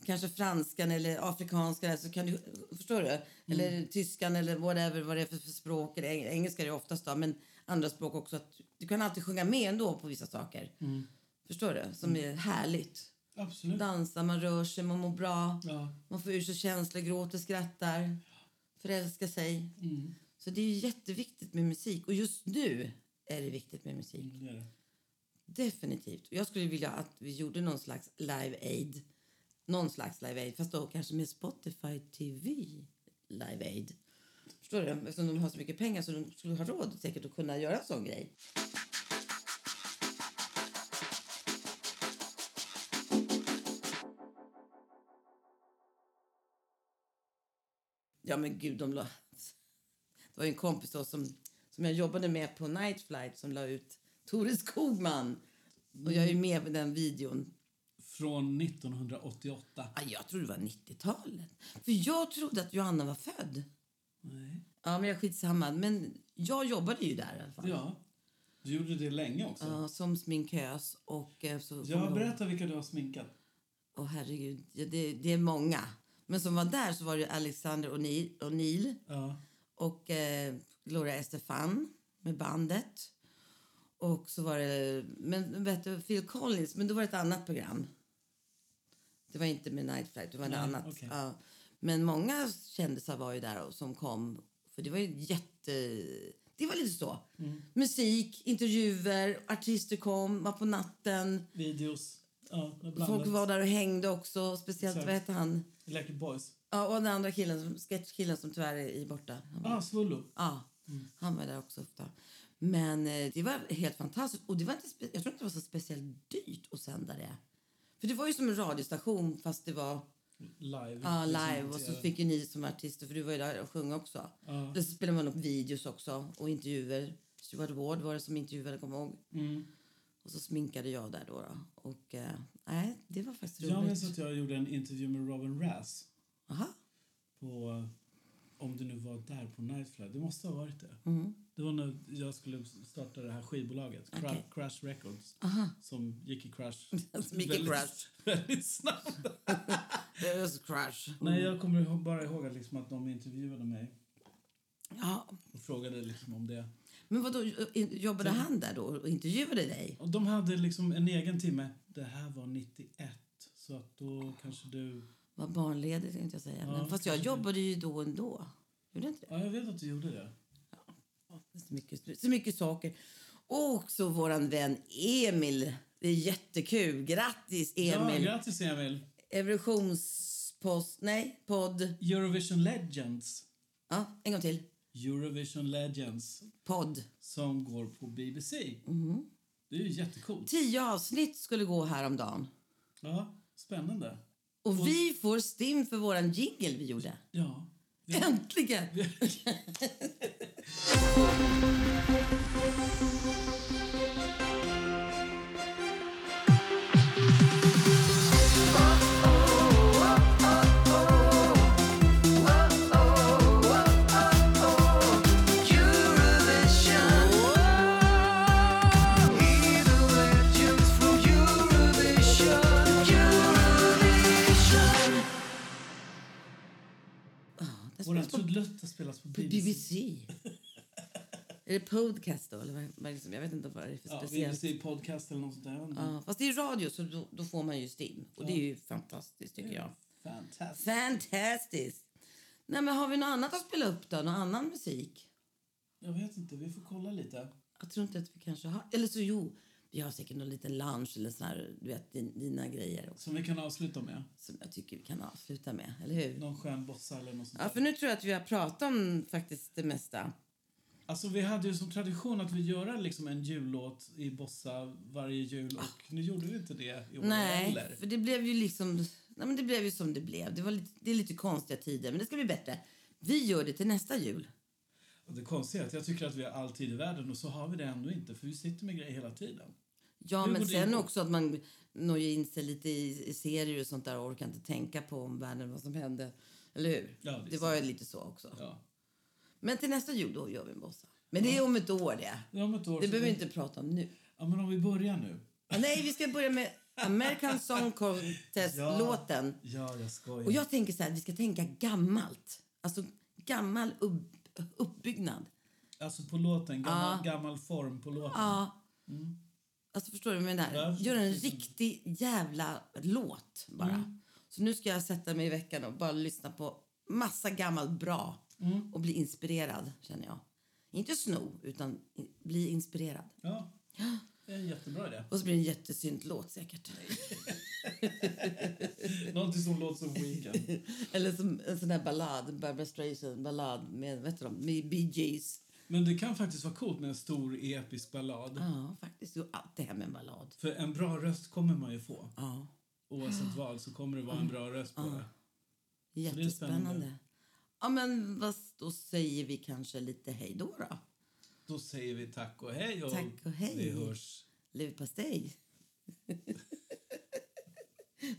[SPEAKER 1] kanske franskan eller afrikanskan så kan du... Förstår du? Eller tyskan eller whatever, vad det är för, för språk. Eller, eng- engelska är det oftast, då, men andra språk också. Att du kan alltid sjunga med ändå på vissa saker. Förstår du? Som är härligt.
[SPEAKER 2] Absolut.
[SPEAKER 1] Dansa, man rör sig, man mår bra.
[SPEAKER 2] Ja.
[SPEAKER 1] Man får ur sig känslor, gråter, skrattar, förälskar sig.
[SPEAKER 2] Mm.
[SPEAKER 1] Så det är ju jätteviktigt med musik. Och just nu är det viktigt med musik.
[SPEAKER 2] Det är det.
[SPEAKER 1] Definitivt. Och jag skulle vilja att vi gjorde någon slags Live Aid. Någon slags Live Aid, fast då kanske med Spotify TV Live Aid. Förstår du? Eftersom de har så mycket pengar så de skulle ha råd säkert att kunna göra en sån grej. Ja men gud, de la... Det var ju en kompis då som, som jag jobbade med på Night Flight som la ut Tore Skogman. Och jag är ju med på den videon.
[SPEAKER 2] Från 1988.
[SPEAKER 1] Ah, jag trodde det var 90-talet. För jag trodde att Johanna var född.
[SPEAKER 2] Nej.
[SPEAKER 1] Ja, men jag är skitsamma. Men jag jobbade ju där i alla fall.
[SPEAKER 2] Ja. Du gjorde det länge också.
[SPEAKER 1] Ja, som sminkös och eh, så...
[SPEAKER 2] Ja, berätta vilka du har sminkat.
[SPEAKER 1] Åh herregud, ja, det, det är många. Men som var där så var det Alexander O'Neill- O'Neill
[SPEAKER 2] Ja.
[SPEAKER 1] och eh, Gloria Estefan med bandet. Och så var det men, vet du, Phil Collins, men då var det ett annat program. Det var inte med Night Flight, det var
[SPEAKER 2] Nej,
[SPEAKER 1] ett annat.
[SPEAKER 2] okej.
[SPEAKER 1] Ja. Men många kändisar var ju där och, som kom. För det var ju jätte... Det var lite så.
[SPEAKER 2] Mm.
[SPEAKER 1] Musik, intervjuer, artister kom, var på natten.
[SPEAKER 2] Videos. Ja,
[SPEAKER 1] Folk var där och hängde också. Speciellt,
[SPEAKER 2] Exakt.
[SPEAKER 1] vad heter han?
[SPEAKER 2] Electric Boys.
[SPEAKER 1] Ja, och den andra killen, som- sketchkillen som tyvärr är i borta. Han var-
[SPEAKER 2] Ah, Svullo.
[SPEAKER 1] Ja,
[SPEAKER 2] Mm.
[SPEAKER 1] han var där också ofta. Men eh, det var helt fantastiskt. Och det var inte spe- jag tror inte det var så speciellt dyrt att sända det. För det var ju som en radiostation fast det var
[SPEAKER 2] Live.
[SPEAKER 1] ja,
[SPEAKER 2] Liksom
[SPEAKER 1] live och så
[SPEAKER 2] monterade.
[SPEAKER 1] fick ju ni som artister, för du var ju där och sjöng också.
[SPEAKER 2] Ja.
[SPEAKER 1] Då spelade man upp videos också och intervjuer. Stuart Ward var det som intervjuade, kommer jag ihåg.
[SPEAKER 2] Mm.
[SPEAKER 1] Och så sminkade jag där då. då. Och eh, nej, det var faktiskt
[SPEAKER 2] Jag
[SPEAKER 1] roligt.
[SPEAKER 2] minns att jag gjorde en intervju med Robin Rass.
[SPEAKER 1] Aha.
[SPEAKER 2] på... eh, Om det nu var där på Nightfly. Det måste ha varit det.
[SPEAKER 1] Mm.
[SPEAKER 2] Det var när jag skulle starta det här skivbolaget, Cra-
[SPEAKER 1] Okej.
[SPEAKER 2] Crash Records, som gick i crash.
[SPEAKER 1] Som gick i
[SPEAKER 2] väldigt-
[SPEAKER 1] crash.
[SPEAKER 2] Väldigt snabbt.
[SPEAKER 1] Det var så crash.
[SPEAKER 2] Nej, jag kommer ihå- bara ihåg att, liksom att de intervjuade mig
[SPEAKER 1] Ja.
[SPEAKER 2] och frågade liksom om det.
[SPEAKER 1] Men vadå, jobbade han där då och intervjuade dig?
[SPEAKER 2] Och de hade liksom en egen timme. Det här var 91, så att då kanske du...
[SPEAKER 1] Var barnledig tänkte jag säga.
[SPEAKER 2] Ja,
[SPEAKER 1] Men fast jag
[SPEAKER 2] kanske det.
[SPEAKER 1] jobbade ju då ändå. Gjorde jag inte det?
[SPEAKER 2] Ja, jag vet att du gjorde det.
[SPEAKER 1] Så mycket, så mycket saker. Och också våran vän Emil. Det är jättekul. Grattis, Emil!
[SPEAKER 2] Ja, grattis, Emil.
[SPEAKER 1] Eurovisionspost... Nej, podd.
[SPEAKER 2] Eurovision Legends.
[SPEAKER 1] Ja, en gång till.
[SPEAKER 2] Eurovision Legends
[SPEAKER 1] Podd.
[SPEAKER 2] som går på BBC.
[SPEAKER 1] Mm-hmm.
[SPEAKER 2] Det är ju jättecoolt.
[SPEAKER 1] Tio avsnitt skulle gå häromdagen.
[SPEAKER 2] Ja, spännande.
[SPEAKER 1] Och vi får stim för våran jingel vi gjorde.
[SPEAKER 2] Ja. Vi-
[SPEAKER 1] Äntligen! Det
[SPEAKER 2] Våra
[SPEAKER 1] spelas på
[SPEAKER 2] trudelutter spelas på BBC.
[SPEAKER 1] BBC. Är det podcast då? Eller vad, vad är det som- jag vet inte vad det är för
[SPEAKER 2] Ja,
[SPEAKER 1] speciellt.
[SPEAKER 2] BBC Podcast eller något sånt där.
[SPEAKER 1] Ja, fast det är radio så då, då får man ju stim. Och det är ju fantastiskt tycker jag.
[SPEAKER 2] Fantastiskt.
[SPEAKER 1] Fantastiskt! Nej men har vi något annat att spela upp då? Någon annan musik?
[SPEAKER 2] Jag vet inte, vi får kolla lite.
[SPEAKER 1] Jag tror inte att vi kanske har... Eller så jo, vi har säkert någon liten lunch eller sån här, du vet, din, dina grejer också.
[SPEAKER 2] Som vi kan avsluta med.
[SPEAKER 1] Som jag tycker vi kan avsluta med, eller hur?
[SPEAKER 2] Någon skön bossa eller något sånt
[SPEAKER 1] Ja,
[SPEAKER 2] där.
[SPEAKER 1] för nu tror jag att vi har pratat om faktiskt det mesta.
[SPEAKER 2] Alltså vi hade ju som tradition att vi göra liksom en jullåt i bossa varje jul och nu gjorde vi inte det i år
[SPEAKER 1] Nej,
[SPEAKER 2] heller.
[SPEAKER 1] för det blev ju liksom... Nej, men det blev ju som det blev. Det, var lite, det är lite konstiga tider, men det ska bli bättre. Vi gör det till nästa jul.
[SPEAKER 2] Och Det konstiga är att jag tycker att vi har all tid i världen och så har vi det ändå inte för vi sitter med grejer hela tiden.
[SPEAKER 1] Ja,
[SPEAKER 2] Hur
[SPEAKER 1] men
[SPEAKER 2] går det
[SPEAKER 1] sen
[SPEAKER 2] ihop?
[SPEAKER 1] också att man nöjer in sig lite i, i serier och sånt där och orkar inte tänka på omvärlden, vad som hände. Eller hur?
[SPEAKER 2] Ja, det är
[SPEAKER 1] det var ju lite så också.
[SPEAKER 2] Ja.
[SPEAKER 1] Men till nästa jul, då gör vi en bossa. Men det är om ett år det.
[SPEAKER 2] Ja, Om ett år
[SPEAKER 1] Det
[SPEAKER 2] så-
[SPEAKER 1] behöver vi inte prata om nu.
[SPEAKER 2] Ja men om vi börjar nu.
[SPEAKER 1] Ah, nej, vi ska börja med American Song Contest-låten.
[SPEAKER 2] Ja, jag skojar.
[SPEAKER 1] Och jag tänker så här, vi ska tänka gammalt. Alltså gammal upp, uppbyggnad.
[SPEAKER 2] Alltså på låten, gammal, gammal form på låten.
[SPEAKER 1] Ja. Alltså förstår du vad jag menar?
[SPEAKER 2] Mm. Ja.
[SPEAKER 1] Gör en riktig jävla låt bara.
[SPEAKER 2] Mm.
[SPEAKER 1] Så nu ska jag sätta mig i veckan och bara lyssna på massa gammalt bra
[SPEAKER 2] Mm.
[SPEAKER 1] och bli inspirerad känner jag. Inte sno, utan i- bli inspirerad.
[SPEAKER 2] Ja. Det är en jättebra idé.
[SPEAKER 1] Och så blir det en jättesynt låt säkert.
[SPEAKER 2] Någonting som låter som Weekend.
[SPEAKER 1] Eller som en sån där ballad, Barbra Streisand ballad med, vet du de, med Bee Gees.
[SPEAKER 2] Men det kan faktiskt vara coolt med en stor episk ballad.
[SPEAKER 1] Ja, faktiskt. Jo, allt det här med en ballad.
[SPEAKER 2] För en bra röst kommer man ju få.
[SPEAKER 1] Ja,
[SPEAKER 2] Oavsett val så kommer det vara en bra röst på det. är
[SPEAKER 1] jättespännande.
[SPEAKER 2] spännande.
[SPEAKER 1] Ja, men vad, då säger vi kanske lite hej då då.
[SPEAKER 2] Då säger vi tack och hej och,
[SPEAKER 1] Tack och hej.
[SPEAKER 2] vi hörs.
[SPEAKER 1] Leverpastej.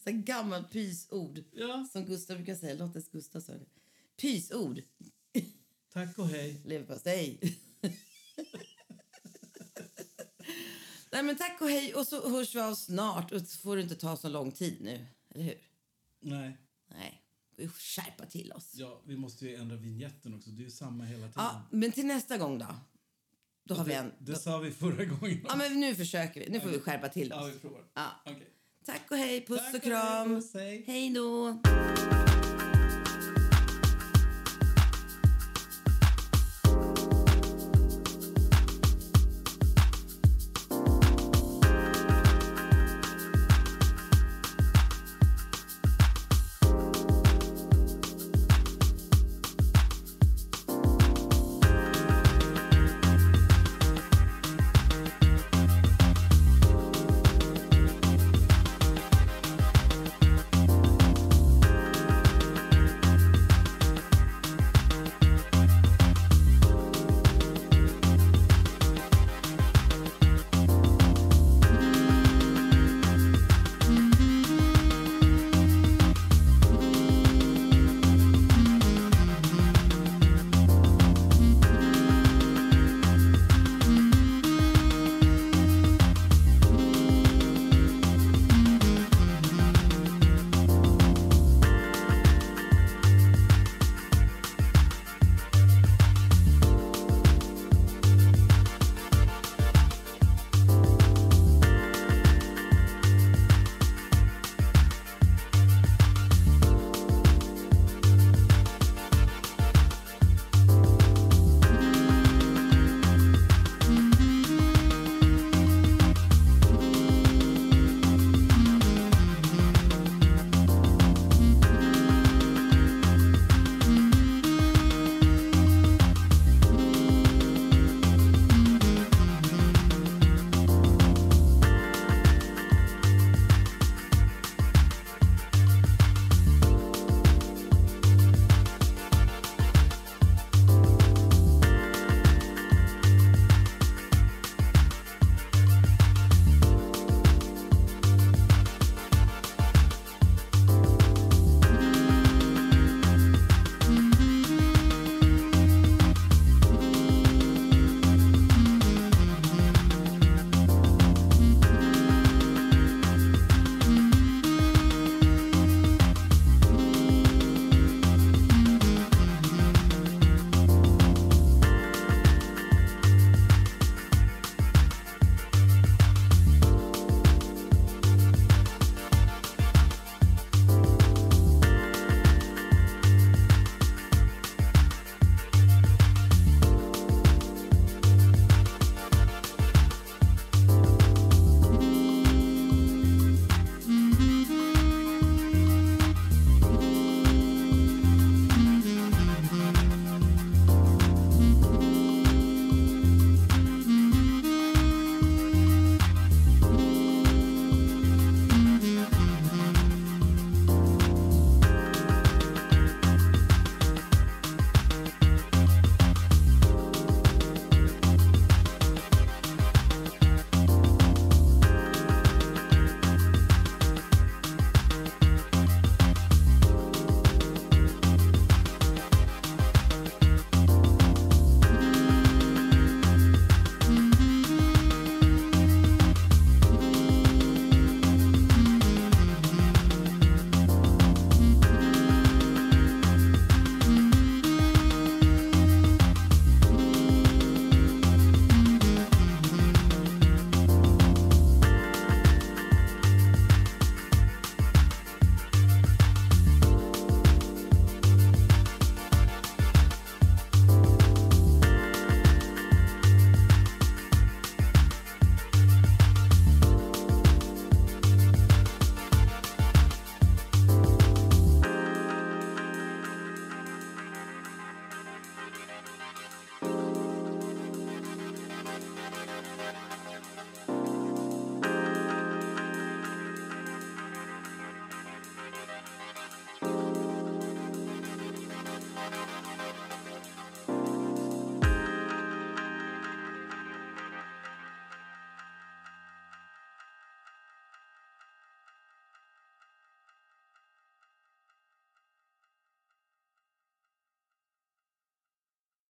[SPEAKER 1] Så här gammalt pysord.
[SPEAKER 2] Ja,
[SPEAKER 1] Som Gustav brukar säga. Lottes Gustav sa det. Pysord.
[SPEAKER 2] tack och hej.
[SPEAKER 1] Leverpastej. Nej, men tack och hej. Och så hörs vi av snart. Och så får det inte ta så lång tid nu. Eller hur?
[SPEAKER 2] Nej,
[SPEAKER 1] Nej, vi får skärpa till oss.
[SPEAKER 2] ja, vi måste ju ändra vignetten också. Det är ju samma hela tiden.
[SPEAKER 1] Ja, men till nästa gång då. Då har vi en.
[SPEAKER 2] det, det sa vi förra gången.
[SPEAKER 1] Ja, men nu försöker vi. Nu får vi skärpa till
[SPEAKER 2] Ja,
[SPEAKER 1] oss.
[SPEAKER 2] vi provar.
[SPEAKER 1] Ja.
[SPEAKER 2] Okej.
[SPEAKER 1] Tack och hej, puss
[SPEAKER 2] Tack
[SPEAKER 1] och kram.
[SPEAKER 2] Hej.
[SPEAKER 1] Hej då!